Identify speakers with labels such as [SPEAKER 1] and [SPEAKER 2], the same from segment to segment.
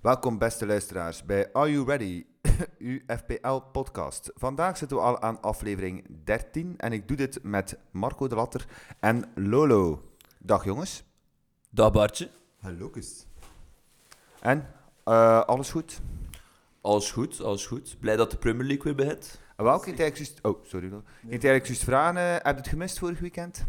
[SPEAKER 1] Welkom beste luisteraars bij Are You Ready, UFPL podcast. Vandaag zitten we al aan aflevering 13 en ik doe dit met Marco de Latter en Lolo. Dag jongens.
[SPEAKER 2] Dag Bartje.
[SPEAKER 3] Hallo, kus.
[SPEAKER 1] En, eh, alles goed?
[SPEAKER 2] Alles goed, alles goed. Blij dat de Premier League weer begint.
[SPEAKER 1] En Welke ik eigenlijk juist... Oh, sorry Lolo. Ik ging het eigenlijk juist vragen, eh, heb je het gemist vorig weekend?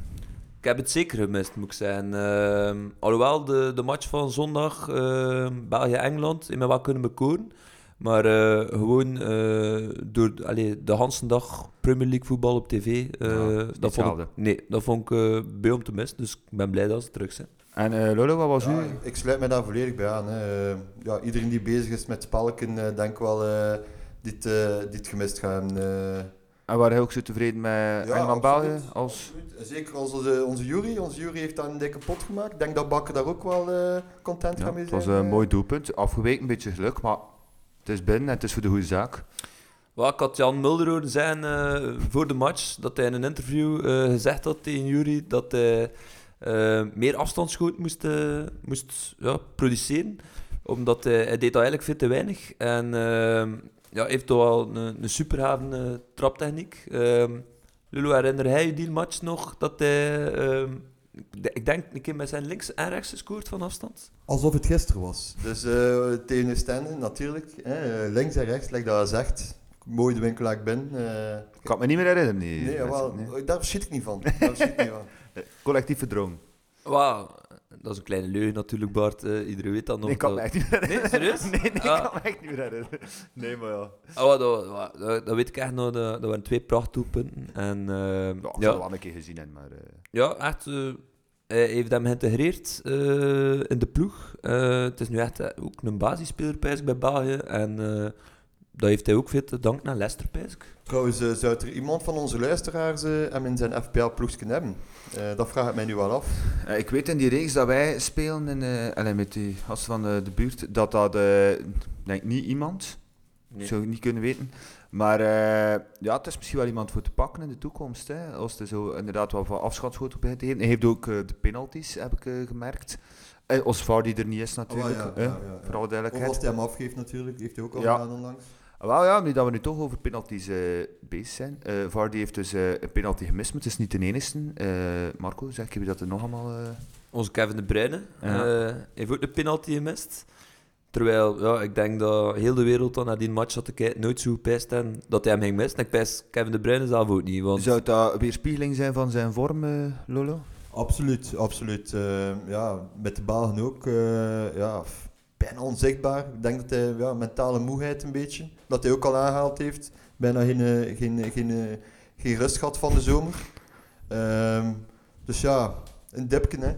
[SPEAKER 2] Ik heb het zeker gemist, moet ik zeggen. Ehm, alhoewel, de, de match van zondag, ehm, België-Engeland, in mij wel kunnen bekoren. Maar eh, gewoon eh, door allee, de hele dag Premier League voetbal op tv. eh,
[SPEAKER 1] Ja, het is niet
[SPEAKER 2] dat vond
[SPEAKER 1] hetzelfde.
[SPEAKER 2] ik, nee, dat vond ik eh bij om te missen. Dus ik ben blij dat ze terug zijn.
[SPEAKER 1] En eh, Lolo, wat was
[SPEAKER 3] Ja,
[SPEAKER 1] u?
[SPEAKER 3] ik sluit mij daar volledig bij aan. Hè. Eh, Ja, iedereen die bezig is met spelken, eh, denk wel eh, dit, eh, dit gemist gaan. eh.
[SPEAKER 1] En waren jij ook zo tevreden met
[SPEAKER 3] Ja,
[SPEAKER 1] Engeland-België?
[SPEAKER 3] absoluut.
[SPEAKER 1] Als...
[SPEAKER 3] Zeker onze, onze jury. Onze jury heeft daar een dikke pot gemaakt. Ik denk dat Bakker daar ook wel eh, content
[SPEAKER 1] Ja,
[SPEAKER 3] gaat mee
[SPEAKER 1] het
[SPEAKER 3] zijn.
[SPEAKER 1] was een
[SPEAKER 3] eh.
[SPEAKER 1] mooi doelpunt. Afgeweken, een beetje geluk, maar het is binnen en het is voor de goede zaak.
[SPEAKER 2] Wel, ik had Jan Mulder horen zeggen eh, voor de match dat hij in een interview eh, gezegd had tegen Jury dat hij eh, meer afstandsschoot moest, eh, moest ja, produceren. Omdat hij, hij deed dat eigenlijk veel te weinig. En eh, ja, heeft toch wel een, een superhaven eh, traptechniek. Ehm Lulu, herinner jij je die match nog dat hij, ehm, ik de- ik denk, een keer met zijn links en rechts gescoord van afstand?
[SPEAKER 3] Alsof het gisteren was. Dus eh tegen Oostende, natuurlijk. hè, eh, links en rechts, like dat zegt. Mooi de winkel waar ik ben. eh.
[SPEAKER 1] Ik kan het me niet meer herinneren. Nee,
[SPEAKER 3] nee,
[SPEAKER 1] mensen,
[SPEAKER 3] wel,
[SPEAKER 1] nee.
[SPEAKER 3] daar schiet ik niet van. Daar schiet ik niet van.
[SPEAKER 1] Collectief verdrong.
[SPEAKER 2] Wauw, dat is een kleine leugen natuurlijk, Bart. Eh, iedereen weet dat nog.
[SPEAKER 1] Nee, ik kan
[SPEAKER 2] Dat-
[SPEAKER 1] me echt niet meer herinneren.
[SPEAKER 2] Nee, serieus?
[SPEAKER 1] Nee, nee, ik
[SPEAKER 2] Ah.
[SPEAKER 1] kan me echt niet meer herinneren. Nee, maar ja.
[SPEAKER 2] Oh, dat, dat- dat, dat weet ik echt nog. Dat, dat waren twee prachtdoelpunten. En, eh,
[SPEAKER 1] Ja, ik heb het
[SPEAKER 2] ja,
[SPEAKER 1] wel een keer gezien, hè, maar... eh,
[SPEAKER 2] ja, echt. eh, hij heeft hem geïntegreerd eh, in de ploeg. Eh, het is nu echt eh, ook een basisspeler pijs ik, bij België. En eh dat heeft hij ook veel te danken aan Leicester, pijs ik.
[SPEAKER 3] Trouwens, eh, zou er iemand van onze luisteraars eh, hem in zijn FPL-ploegsken hebben? Eh, dat vraag ik mij nu wel af.
[SPEAKER 1] Eh, ik weet in die reeks dat wij spelen, in, eh, allee, met die gasten van eh, de buurt, dat dat, eh, denk ik niet iemand,
[SPEAKER 2] Nee.
[SPEAKER 1] zou ik niet kunnen weten. Maar eh, ja, het is misschien wel iemand voor te pakken in de toekomst, hè, als er zo inderdaad wat van afschotsschoten begint te geven. Hij heeft ook eh, de penalties, heb ik eh, gemerkt. Eh, als VAR die er niet is natuurlijk,
[SPEAKER 3] ja,
[SPEAKER 1] hè,
[SPEAKER 3] ja, ja, ja.
[SPEAKER 1] voor alle
[SPEAKER 3] Of als
[SPEAKER 1] duidelijkheid.
[SPEAKER 3] hij hem afgeeft natuurlijk, heeft hij ook al
[SPEAKER 1] Ja.
[SPEAKER 3] gedaan onlangs.
[SPEAKER 1] Ah, Wel ja, nu dat we nu toch over penalties eh, bezig zijn. Eh Vardy heeft dus eh, een penalty gemist, maar het is niet de enige. Eh, Marco, zeg je dat er nog allemaal... eh,
[SPEAKER 2] Onze Kevin de Bruyne
[SPEAKER 1] Ja.
[SPEAKER 2] eh, heeft ook een penalty gemist. Terwijl ja, ik denk dat heel de wereld dan naar die match had te kijken, nooit zo gepijst en dat hij hem ging missen. En ik pijs Kevin de Bruyne zelf ook niet. Want
[SPEAKER 1] Zou dat weerspiegeling zijn van zijn vorm, eh, Lolo?
[SPEAKER 3] Absoluut, absoluut. Eh, ja, met de Belgen ook. eh, ja, f- bijna onzichtbaar. Ik denk dat hij ja, mentale moeheid een beetje, dat hij ook al aangehaald heeft. Bijna geen, eh, geen, eh, geen, eh, geen rust gehad van de zomer. Ehm, dus ja, een dipje hè.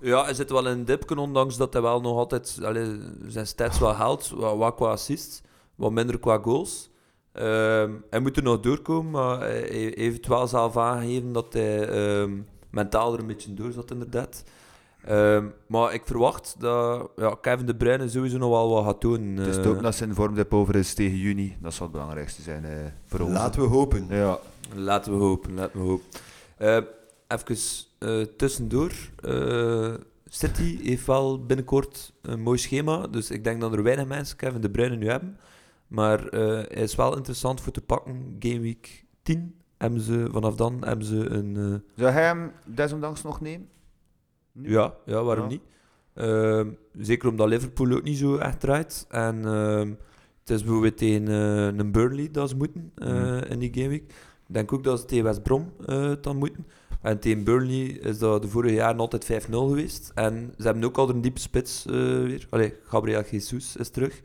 [SPEAKER 2] Ja, hij zit wel in een dipje, ondanks dat hij wel nog altijd allee, zijn stats wel haalt. Wat, wat qua assists, wat minder qua goals. Ehm, hij moet er nog doorkomen, maar hij hij heeft het wel zelf aangegeven dat hij ehm, mentaal er een beetje door zat, inderdaad. Ehm, maar ik verwacht dat ja, Kevin De Bruyne sowieso nog wel wat gaat doen.
[SPEAKER 1] het is
[SPEAKER 2] eh.
[SPEAKER 1] ook dat zijn vormdip over is tegen juni. Dat zal het belangrijkste zijn eh, voor ons.
[SPEAKER 3] Laten we hopen.
[SPEAKER 1] Ja.
[SPEAKER 2] Laten we hopen, laten we hopen. Eh, even eh, tussendoor. eh, City heeft wel binnenkort een mooi schema. Dus ik denk dat er weinig mensen Kevin De Bruyne nu hebben. Maar eh, hij is wel interessant voor te pakken. Gameweek 10 hebben ze, vanaf dan hebben ze een... eh,
[SPEAKER 1] Zou hij hem desondanks nog nemen? Nu?
[SPEAKER 2] ja, ja, waarom
[SPEAKER 1] Ja.
[SPEAKER 2] niet? Ehm, zeker omdat Liverpool ook niet zo echt draait. En ehm, het is bijvoorbeeld tegen eh, een Burnley dat ze moeten eh,
[SPEAKER 1] Mhm.
[SPEAKER 2] in die gameweek. Ik denk ook dat ze tegen West Brom eh, het dan moeten. En tegen Burnley is dat de vorige jaren altijd 5-0 geweest. En ze hebben ook al een diepe spits eh, weer. Allee, Gabriel Jesus is terug.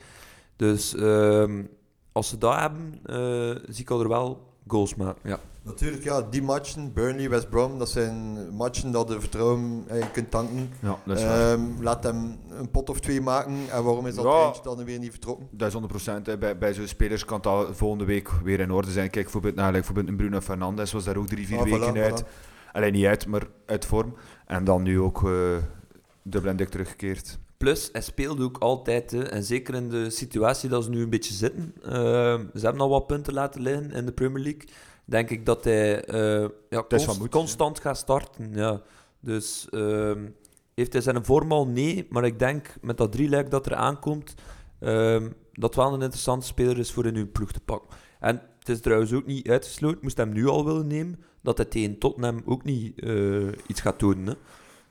[SPEAKER 2] Dus ehm, als ze dat hebben, eh, zie ik al er wel goals maken. Ja.
[SPEAKER 3] Natuurlijk, ja, die matchen, Burnley, West Brom, dat zijn matchen dat de vertrouwen eh, je kunt tanken.
[SPEAKER 1] Ja, dat is waar.
[SPEAKER 3] Ehm, laat hem een pot of twee maken. En waarom is dat
[SPEAKER 1] Ja.
[SPEAKER 3] eentje dan weer niet vertrokken?
[SPEAKER 1] Dat is 100%. hè. Bij, bij zo'n spelers kan dat volgende week weer in orde zijn. Kijk, bijvoorbeeld, nou, like, bijvoorbeeld een Bruno Fernandes was daar ook drie, vier
[SPEAKER 3] Ah, voilà,
[SPEAKER 1] weken uit.
[SPEAKER 3] voilà.
[SPEAKER 1] Alleen niet uit, maar uit vorm. En dan nu ook eh dubbel en dik teruggekeerd.
[SPEAKER 2] Plus, hij speelde ook altijd, hè, en zeker in de situatie dat ze nu een beetje zitten. Ehm, ze hebben al wat punten laten liggen in de Premier League. Denk ik dat hij eh, ja,
[SPEAKER 1] is
[SPEAKER 2] const-
[SPEAKER 1] van moed,
[SPEAKER 2] constant gaat starten. Ja. Dus ehm, heeft hij zijn vorm al? Nee, maar ik denk met dat drie lijk dat er aankomt, ehm, dat wel een interessante speler is voor in uw ploeg te pakken. En het is trouwens ook niet uitgesloten, moest hij hem nu al willen nemen, dat hij tegen Tottenham ook niet eh, iets gaat doen. Hè.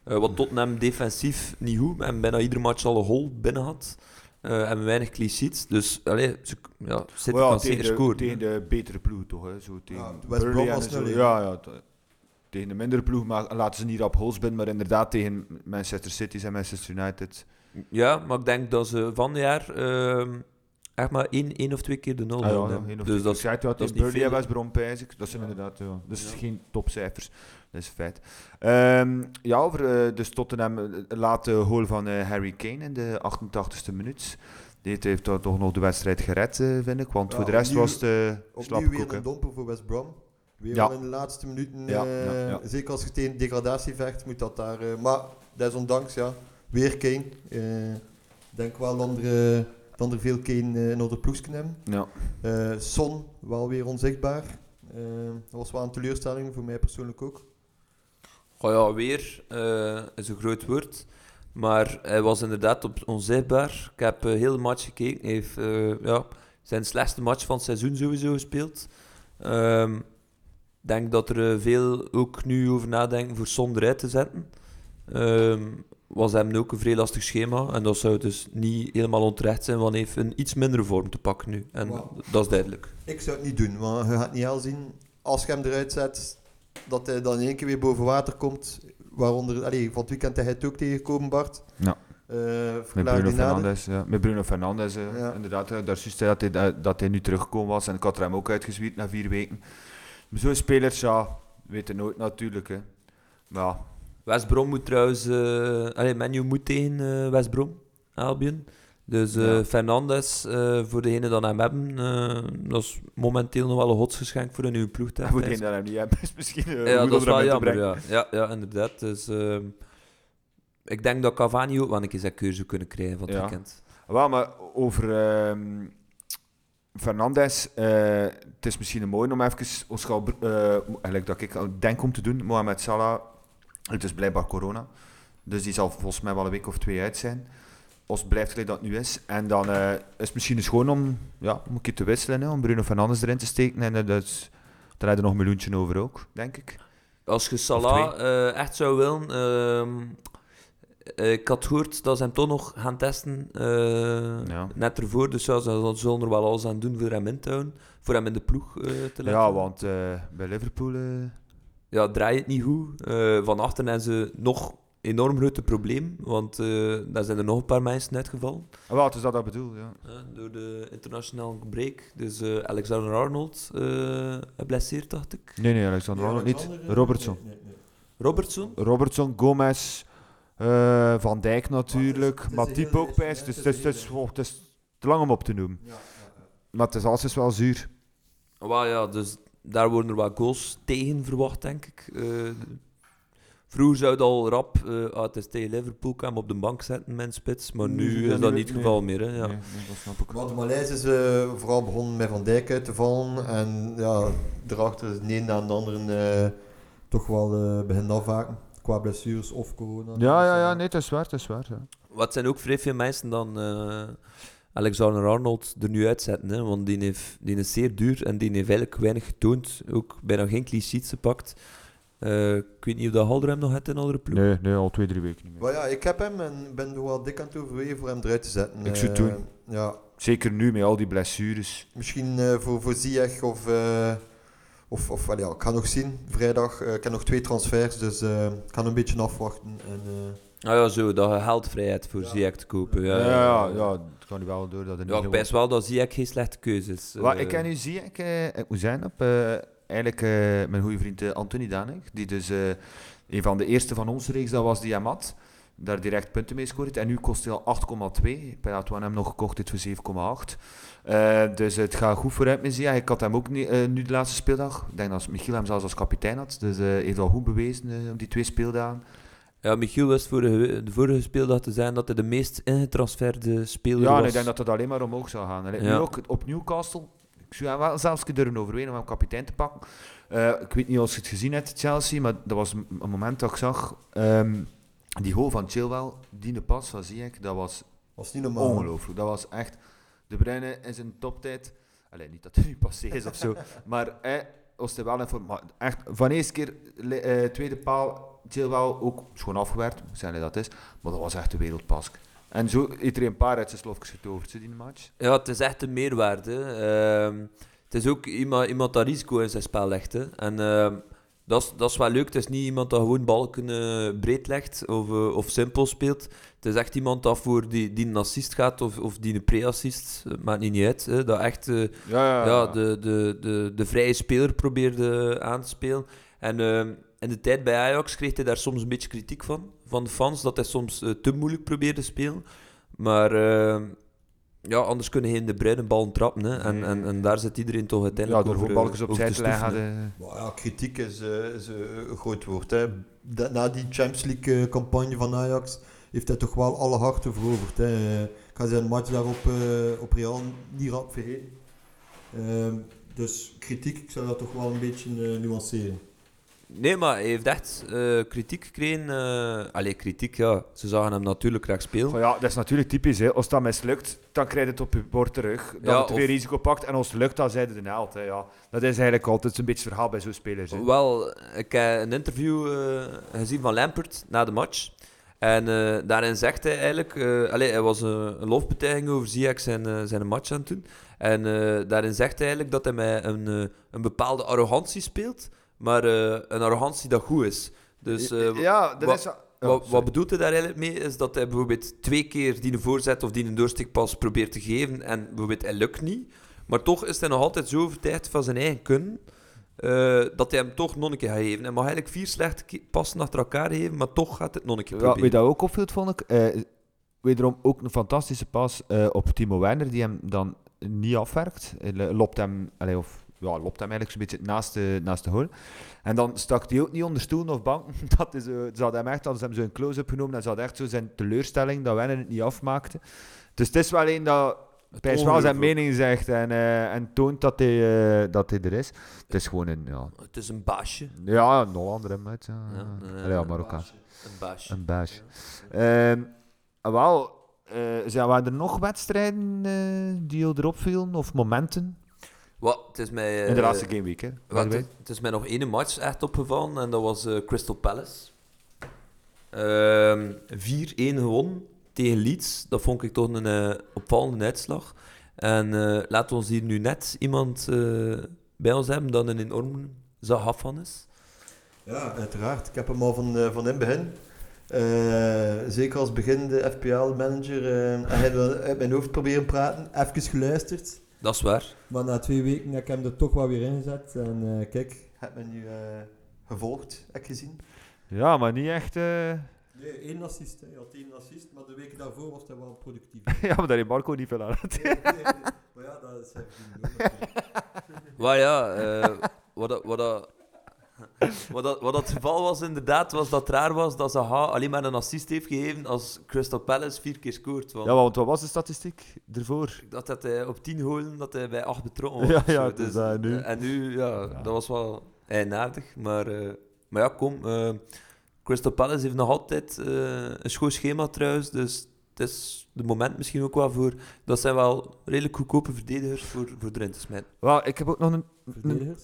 [SPEAKER 2] Eh, want Tottenham defensief niet goed en bijna iedere match al een hol binnen had. eh, en weinig clean sheets, dus allee, ze, ja, City
[SPEAKER 1] Maar Oh ja,
[SPEAKER 2] kan
[SPEAKER 1] tegen,
[SPEAKER 2] zeker
[SPEAKER 1] de,
[SPEAKER 2] scoren.
[SPEAKER 1] tegen
[SPEAKER 2] hè.
[SPEAKER 1] de betere ploeg toch? Hè? Zo tegen
[SPEAKER 3] West
[SPEAKER 1] Burnley
[SPEAKER 3] Brom
[SPEAKER 1] en
[SPEAKER 3] was
[SPEAKER 1] zo.
[SPEAKER 3] 0-1.
[SPEAKER 1] Ja, ja. t- Tegen de mindere ploeg maar laten ze niet op hols binnen, maar inderdaad tegen Manchester City en Manchester United.
[SPEAKER 2] Ja, maar ik denk dat ze van het jaar ehm, echt maar één, één of twee keer de nul
[SPEAKER 1] Ah, ja,
[SPEAKER 2] houden.
[SPEAKER 1] ja,
[SPEAKER 2] hebben.
[SPEAKER 1] één of
[SPEAKER 2] dus
[SPEAKER 1] twee.
[SPEAKER 2] dat
[SPEAKER 1] Ik
[SPEAKER 2] is
[SPEAKER 1] zei het wel, tegen
[SPEAKER 2] niet
[SPEAKER 1] Burnley en
[SPEAKER 2] veel.
[SPEAKER 1] West Brom, pijs ik. Dat zijn
[SPEAKER 3] Ja.
[SPEAKER 1] inderdaad ja, dus
[SPEAKER 2] Ja.
[SPEAKER 1] geen topcijfers. Dat is feit. Ehm, ja, over eh, dus Tottenham eh, late goal van eh, Harry Kane in de 88ste minuut. Dit heeft dan toch nog de wedstrijd gered, eh, vind ik. Want
[SPEAKER 3] Ja,
[SPEAKER 1] voor de rest
[SPEAKER 3] opnieuw-
[SPEAKER 1] was het eh
[SPEAKER 3] Opnieuw
[SPEAKER 1] slappe
[SPEAKER 3] weer
[SPEAKER 1] koek. hè.
[SPEAKER 3] een domper voor West Brom. Weer
[SPEAKER 1] Ja.
[SPEAKER 3] wel in de laatste minuten.
[SPEAKER 1] Ja,
[SPEAKER 3] eh,
[SPEAKER 1] ja, ja.
[SPEAKER 3] Zeker als je tegen degradatie vecht, moet dat daar. eh, maar desondanks, ja, weer Kane. Eh, Ik denk wel dat er, eh, dat er veel Kane eh, in onze ploeg kunnen hebben.
[SPEAKER 1] Ja.
[SPEAKER 3] Eh, Son, wel weer onzichtbaar. Eh, dat was wel een teleurstelling voor mij persoonlijk ook.
[SPEAKER 2] Goh Oh ja, weer eh, is een groot woord. Maar hij was inderdaad op onzichtbaar. Ik heb eh, heel de match gekeken. Hij heeft eh, ja, zijn slechtste match van het seizoen sowieso gespeeld. Ehm, Ik denk dat er eh, veel ook nu over nadenken voor Son eruit te zetten. Ehm, was hem ook een vrij lastig schema. En dat zou dus niet helemaal onterecht zijn, want hij heeft een iets mindere vorm te pakken nu. En
[SPEAKER 3] Wauw.
[SPEAKER 2] dat is duidelijk.
[SPEAKER 3] Ik zou het niet doen, want je gaat niet al zien als je hem eruit zet dat hij dan in één keer weer boven water komt. Waaronder, allee, van het weekend heb je het ook tegengekomen, Bart.
[SPEAKER 1] Ja.
[SPEAKER 3] Eh,
[SPEAKER 1] Met
[SPEAKER 3] verklaar
[SPEAKER 1] Bruno
[SPEAKER 3] die nader.
[SPEAKER 1] Fernandes, ja. Met Bruno Fernandes, eh,
[SPEAKER 3] Ja.
[SPEAKER 1] inderdaad. eh, Daar is dat hij, dat- dat hij nu teruggekomen was. En ik had er hem ook uitgezwierd na vier weken. Maar Zo'n spelers, ja, weten nooit natuurlijk. Hè. Maar ja,
[SPEAKER 2] West Brom moet trouwens... eh allee, Menu moet tegen eh, West Brom, Albion. Dus eh,
[SPEAKER 1] Ja.
[SPEAKER 2] Fernandes, eh, voor degenen die hem hebben, eh, dat is momenteel nog wel een godsgeschenk voor een nieuwe ploeg. te
[SPEAKER 1] hij
[SPEAKER 2] hebben.
[SPEAKER 1] moet één dat hem niet hebben. is misschien eh,
[SPEAKER 2] ja,
[SPEAKER 1] goed
[SPEAKER 2] dat
[SPEAKER 1] om hem
[SPEAKER 2] is wel
[SPEAKER 1] in te
[SPEAKER 2] jammer,
[SPEAKER 1] brengen.
[SPEAKER 2] ja. ja. Ja, inderdaad. Dus, ehm, ik denk dat Cavani ook wel een keer zijn keuze zou kunnen krijgen van het
[SPEAKER 1] Ja.
[SPEAKER 2] weekend.
[SPEAKER 1] Wel, maar over ehm Fernandes, eh, het is misschien mooi om even, Oscar, Br- eh, eigenlijk dat ik al denk om te doen, Mohamed Salah, het is blijkbaar corona, dus die zal volgens mij wel een week of twee uit zijn. Als het blijft gelijk dat het nu is. En dan eh, is het misschien eens gewoon om, ja, om een keer te wisselen, hè, om Bruno Fernandes erin te steken. En eh, dat is, daar heb je nog een miljoentje over ook, denk ik.
[SPEAKER 2] Als je Salah eh, echt zou willen... ehm, eh, ik had gehoord dat ze hem toch nog gaan testen. eh,
[SPEAKER 1] Ja.
[SPEAKER 2] Net ervoor, dus ja, ze ze zullen er wel alles aan doen voor hem in te houden. Voor hem in de ploeg eh, te laten.
[SPEAKER 1] Ja, want eh, bij Liverpool... eh,
[SPEAKER 2] ja, draai het niet goed. Eh, van achter hebben ze nog enorm grote probleem, want eh, daar zijn er nog een paar mensen uitgevallen.
[SPEAKER 1] ah, wel, het is dat dat ik bedoel, ja.
[SPEAKER 2] eh, door de internationale break. Dus eh, Alexander Arnold eh blesseert, dacht ik.
[SPEAKER 1] Nee, nee, Alexander Arnold niet. Robertson.
[SPEAKER 3] eh, Nee, nee, nee.
[SPEAKER 2] Robertson?
[SPEAKER 1] Robertson, Gomez, eh, Van Dijk
[SPEAKER 3] het
[SPEAKER 1] natuurlijk,
[SPEAKER 3] is een
[SPEAKER 1] Matip
[SPEAKER 3] hele
[SPEAKER 1] ook
[SPEAKER 3] lijstje,
[SPEAKER 1] bij.
[SPEAKER 3] hè?
[SPEAKER 1] Dus het is,
[SPEAKER 3] Het is een
[SPEAKER 1] het is-
[SPEAKER 3] hele-
[SPEAKER 1] oh, het is te lang om op te noemen.
[SPEAKER 3] Ja, ja, ja.
[SPEAKER 1] Maar het is alles wel zuur.
[SPEAKER 2] Wel ja, dus daar worden er wat goals tegen verwacht, denk ik. Eh, vroeger zou het al rap, eh ah, het is tegen Liverpool, kan hem op de bank zetten, mijn spits. Maar
[SPEAKER 1] Nu is
[SPEAKER 2] nu
[SPEAKER 1] dat
[SPEAKER 2] is dat
[SPEAKER 1] niet-
[SPEAKER 2] niet het
[SPEAKER 1] nee.
[SPEAKER 2] geval meer. Hè, ja.
[SPEAKER 1] Nee, nee, dat snap ik.
[SPEAKER 3] Want de Maleis is eh, vooral begonnen met Van Dijk uit te vallen. En ja, daarachter is de een na de ander eh, toch wel eh begint afhaken. Qua blessures of corona. Dus, eh,
[SPEAKER 1] Ja, ja, ja, nee, het is waar, het is waar. Ja.
[SPEAKER 2] Wat zijn ook vrij veel mensen dan eh, Alexander Arnold er nu uitzetten. Hè? Want die, heeft, die is zeer duur en die heeft eigenlijk weinig getoond. Ook bijna geen clichés gepakt. Eh, ik weet niet of dat Halder hem nog had in een andere ploeg.
[SPEAKER 1] Nee, nee, al twee, drie weken niet meer.
[SPEAKER 3] Maar ja, ik heb hem en ben er wel dik aan het overwegen voor hem eruit te zetten.
[SPEAKER 1] Ik zou het
[SPEAKER 3] Eh,
[SPEAKER 1] doen.
[SPEAKER 3] Ja,
[SPEAKER 1] Zeker nu met al die blessures.
[SPEAKER 3] misschien eh, voor, voor Ziyech of... eh, of, of wel ja, ik ga nog zien. Vrijdag. eh, ik heb nog twee transfers, dus eh, ik ga een beetje afwachten. En, eh,
[SPEAKER 2] Nou ja, zo, dat je geldvrijheid voor
[SPEAKER 3] Ja.
[SPEAKER 2] Ziyech te kopen.
[SPEAKER 1] Ja,
[SPEAKER 2] Ja,
[SPEAKER 1] ja, ja, het kan nu wel door dat er
[SPEAKER 2] Ja,
[SPEAKER 1] niet
[SPEAKER 2] ik
[SPEAKER 1] gewoon-
[SPEAKER 2] wijs wel dat Ziyech geen slechte keuze is.
[SPEAKER 1] Wat
[SPEAKER 2] Eh,
[SPEAKER 1] ik en nu zie, ik, eh, ik moet zijn op eh, eigenlijk eh, mijn goede vriend eh, Anthony Danig, die dus eh, een van de eerste van onze reeks dat was die hem had, daar direct punten mee scoorde. En nu kost hij al 8,2. Ik had toen hem nog gekocht, dit voor 7,8. Eh, dus het gaat goed vooruit met Zia. Ik had hem ook niet, eh, nu de laatste speeldag. Ik denk dat Michiel hem zelfs als kapitein had. Dus eh, heeft al goed bewezen eh, op die twee speeldagen.
[SPEAKER 2] Ja, Michiel was vorige, we- de vorige speeldag te zijn dat hij de meest ingetransferde speler
[SPEAKER 1] ja,
[SPEAKER 2] was.
[SPEAKER 1] en ik denk dat het alleen maar omhoog zou gaan. En Nu
[SPEAKER 2] Ja.
[SPEAKER 1] ook op Newcastle. Ik zou hem wel zelfs durven overwegen om hem kapitein te pakken. Eh, ik weet niet of je het gezien hebt, Chelsea, maar dat was een een moment dat ik zag. ehm, Die goal van Chilwell, die pas van Ziyech, dat was
[SPEAKER 3] was niet normaal.
[SPEAKER 1] ongelooflijk. Dat was echt... De Bruyne in zijn toptijd... Allee, niet dat hij nu passé is of zo. Maar hij was er wel in vorm. Maar echt, van eerste keer, le- eh, tweede paal, Chilwell ook schoon afgewerkt. Moet zijn dat is. Maar dat was echt de wereldpas. En zo heeft er een paar uit zijn slofjes getoverd, ze die match.
[SPEAKER 2] Ja, het is echt een meerwaarde. Ehm, het is ook iemand, iemand dat risico in zijn spel legt. Hè. En ehm, dat is- dat is wel leuk. Het is niet iemand dat gewoon balken eh, breed legt of, eh, of simpel speelt. Het is echt iemand dat voor die, die een assist gaat of, of die een pre-assist. eh, Maakt niet uit. Hè. Dat echt eh,
[SPEAKER 1] Ja,
[SPEAKER 2] ja, de, de, de, de vrije speler probeerde aan te spelen. En ehm, in de tijd bij Ajax kreeg hij daar soms een beetje kritiek van. Van de fans, dat hij soms eh, te moeilijk probeerde te spelen. Maar ehm, ja, anders kunnen hij in de bruine ballen trappen. Hè. En, en, en daar zit iedereen toch
[SPEAKER 1] ja
[SPEAKER 2] uiteindelijk
[SPEAKER 1] door
[SPEAKER 2] over, eh,
[SPEAKER 1] voetballers
[SPEAKER 2] over
[SPEAKER 1] opzij
[SPEAKER 2] te
[SPEAKER 1] te leggen.
[SPEAKER 2] stoeven, hè.
[SPEAKER 1] hadden-
[SPEAKER 3] Maar ja, kritiek is, eh, is, eh, een groot woord. Hè. Da- na die Champions League-campagne van Ajax heeft hij toch wel alle harten veroverd. Hè. Eh, Ik ga zijn match daarop eh, op Real niet rap vergeten. Ehm, dus kritiek, ik zou dat toch wel een beetje eh, nuanceren.
[SPEAKER 2] Nee, maar hij heeft echt eh, kritiek gekregen. eh allee, kritiek, ja. Ze zagen hem natuurlijk graag spelen.
[SPEAKER 1] Van ja, dat is natuurlijk typisch. Hè. Als dat mislukt, dan krijg je het op je bord terug. Dan
[SPEAKER 2] Ja,
[SPEAKER 1] het weer
[SPEAKER 2] of-
[SPEAKER 1] risico pakt. En als het lukt, dan zijn ze de held. Hè. Ja, dat is eigenlijk altijd een beetje het verhaal bij zo'n spelers. Hè.
[SPEAKER 2] Wel, ik heb een interview eh, gezien van Lampert na de match. En eh, daarin zegt hij eigenlijk... eh allee, hij was een, een lofbetuiging over Ziyech zijn, eh, zijn match aan het doen. En eh, daarin zegt hij eigenlijk dat hij met een, eh, een bepaalde arrogantie speelt. Maar eh, een arrogantie dat goed is. Dus eh,
[SPEAKER 1] ja, dat
[SPEAKER 2] wa-
[SPEAKER 1] is... ja,
[SPEAKER 2] wat,
[SPEAKER 1] sorry.
[SPEAKER 2] wat bedoelt hij daar eigenlijk mee? Is dat hij bijvoorbeeld twee keer die een voorzet of die een doorsteekpas probeert te geven en bijvoorbeeld hij lukt niet. Maar toch is hij nog altijd zo overtuigd van zijn eigen kunnen eh, dat hij hem toch nog een keer gaat geven. Hij mag eigenlijk vier slechte ke- passen achter elkaar geven, maar toch gaat het nog een keer
[SPEAKER 1] Ja,
[SPEAKER 2] proberen.
[SPEAKER 1] wie dat ook opviel, vond ik. eh, wederom ook een fantastische pas eh, op Timo Werner, die hem dan niet afwerkt. Hij lo- Loopt hem, allee, of, ja, loopt hem eigenlijk zo'n beetje naast de, naast de goal. En dan stak hij ook niet onder stoelen of banken. Dat is, eh, ze hadden hem echt, hadden ze hem zo'n close-up genomen. En ze hadden echt zo zijn teleurstelling dat Werner het niet afmaakte. Dus het is wel een dat Pijs wel
[SPEAKER 2] ongeloof
[SPEAKER 1] zijn
[SPEAKER 2] ook.
[SPEAKER 1] mening zegt en, eh, en toont dat hij, eh, dat hij er is. Het is gewoon een, ja,
[SPEAKER 2] Het is een baasje.
[SPEAKER 1] ja een Hollander, hè, met, ja,
[SPEAKER 2] Ja,
[SPEAKER 1] Allee,
[SPEAKER 2] eh,
[SPEAKER 1] ja, Marokkaan.
[SPEAKER 2] Een baasje.
[SPEAKER 1] Een baasje. Ehm, wel, eh, zijn, waren er nog wedstrijden eh, die jou erop vielen? Of momenten?
[SPEAKER 2] Wat, het is mij, eh,
[SPEAKER 1] In de laatste gameweek, hè?
[SPEAKER 2] Wat,
[SPEAKER 1] Daarbij.
[SPEAKER 2] het is mij nog één match echt opgevallen en dat was eh, Crystal Palace. Ehm 4-1 gewonnen tegen Leeds. Dat vond ik toch een eh, opvallende uitslag. En eh, laten we ons hier nu net iemand eh, bij ons hebben dat een enorm zag van is.
[SPEAKER 3] Ja, uiteraard. Ik heb hem al van, eh, van in het begin. Eh, zeker als beginnende FPL-manager. eh hij wil uit mijn hoofd proberen praten. Even geluisterd.
[SPEAKER 2] Dat is waar.
[SPEAKER 3] Maar na twee weken heb ik hem er toch wel weer ingezet. En eh, kijk, heb me nu eh, gevolgd, heb ik gezien.
[SPEAKER 1] Ja, maar niet echt... eh,
[SPEAKER 3] Nee, één assist. Hij had één assist, maar de weken daarvoor was hij wel productief.
[SPEAKER 1] ja, maar daar heeft Marco niet veel aan.
[SPEAKER 3] Maar ja, dat is
[SPEAKER 2] Maar ja, eh, wat, dat- wat, dat- wat, dat- wat dat het geval was inderdaad, was dat het raar was dat Zaha alleen maar een assist heeft gegeven als Crystal Palace vier keer scoort. Want
[SPEAKER 1] Ja, want wat was de statistiek ervoor?
[SPEAKER 2] dat, dat hij op 10 holen dat hij bij 8 betrokken was.
[SPEAKER 1] Ja,
[SPEAKER 2] of zo.
[SPEAKER 1] ja, het is dat nu.
[SPEAKER 2] eh, En nu, ja,
[SPEAKER 1] Ja.
[SPEAKER 2] dat was wel eigenaardig. Maar, eh, maar ja, kom. eh, Crystal Palace heeft nog altijd eh, een schoon schema trouwens. Dus het is de moment misschien ook wel voor. Dat zijn wel redelijk goedkope verdedigers voor, voor erin te smijten.
[SPEAKER 1] Wel, ik heb ook nog een...
[SPEAKER 3] Verdedigers?